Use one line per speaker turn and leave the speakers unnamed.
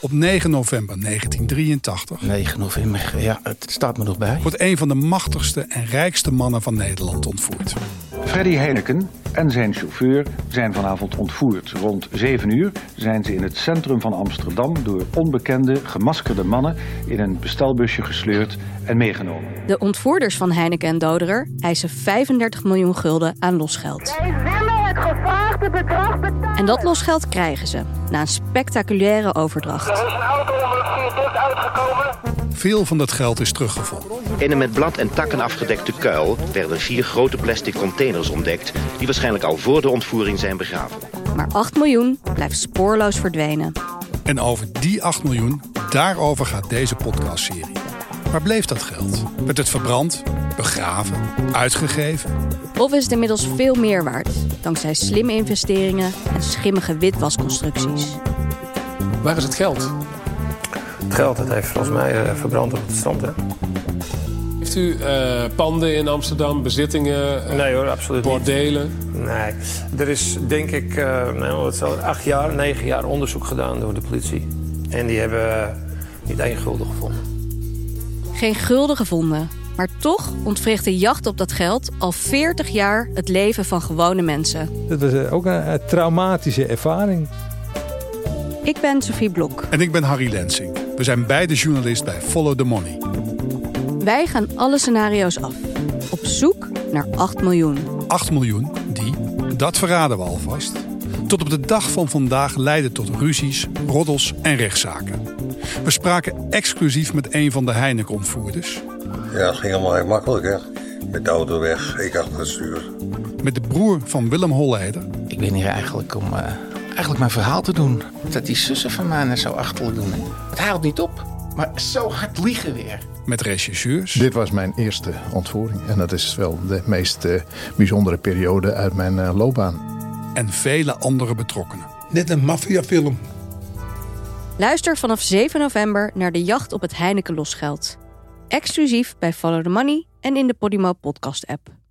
Op 9 november 1983
9 november, ja, het staat me nog bij.
wordt een van de machtigste en rijkste mannen van Nederland ontvoerd.
Freddy Heineken en zijn chauffeur zijn vanavond ontvoerd. Rond 7 uur zijn ze in het centrum van Amsterdam door onbekende gemaskerde mannen in een bestelbusje gesleurd en meegenomen.
De ontvoerders van Heineken en Doderer eisen 35 miljoen gulden aan losgeld.
Wij willen het gevraagde bedrag betalen.
En dat losgeld krijgen ze na een spectaculaire overdracht.
Er is een auto ongeveer dik uitgekomen.
Veel van dat geld is teruggevonden.
In een met blad en takken afgedekte kuil werden vier grote plastic containers ontdekt... die waarschijnlijk al voor de ontvoering zijn begraven.
Maar 8 miljoen blijft spoorloos verdwenen.
En over die 8 miljoen, daarover gaat deze podcastserie. Waar bleef dat geld? Werd het verbrand, begraven, uitgegeven?
Of is het inmiddels veel meer waard, dankzij slimme investeringen en schimmige witwasconstructies.
Waar is het geld?
Het geld dat heeft volgens mij eh, verbrand op het strand. Hè?
Heeft u eh, panden in Amsterdam, bezittingen, eh,
Nee hoor, absoluut niet.
bordelen?
Nee. Er is denk ik eh, nou, het zal acht jaar, negen jaar onderzoek gedaan door de politie. En die hebben eh, niet één gulden gevonden.
Geen gulden gevonden. Maar toch ontwricht de jacht op dat geld al 40 jaar het leven van gewone mensen.
Dat was eh, ook een eh, traumatische ervaring.
Ik ben Sophie Blok.
En ik ben Harry Lensing. We zijn beide journalist bij Follow the Money.
Wij gaan alle scenario's af. Op zoek naar 8 miljoen.
8 miljoen, die, dat verraden we alvast, tot op de dag van vandaag leidde tot ruzies, roddels en rechtszaken. We spraken exclusief met een van de Heineken-ontvoerders,
Ja, het ging allemaal heel makkelijk, hè. Met de auto weg, ik achter het stuur.
met de broer van Willem Holleder
Ik ben hier eigenlijk om eh, eigenlijk mijn verhaal te doen. Dat die zussen van mij net zo achterlijk doen. Het haalt niet op, maar zo hard liegen weer.
met regisseurs
Dit was mijn eerste ontvoering. En dat is wel de meest eh, bijzondere periode uit mijn eh, loopbaan.
en vele andere betrokkenen.
Net een maffiafilm.
Luister vanaf 7 november naar de jacht op het Heineken losgeld. Exclusief bij Follow the Money en in de Podimo podcast app.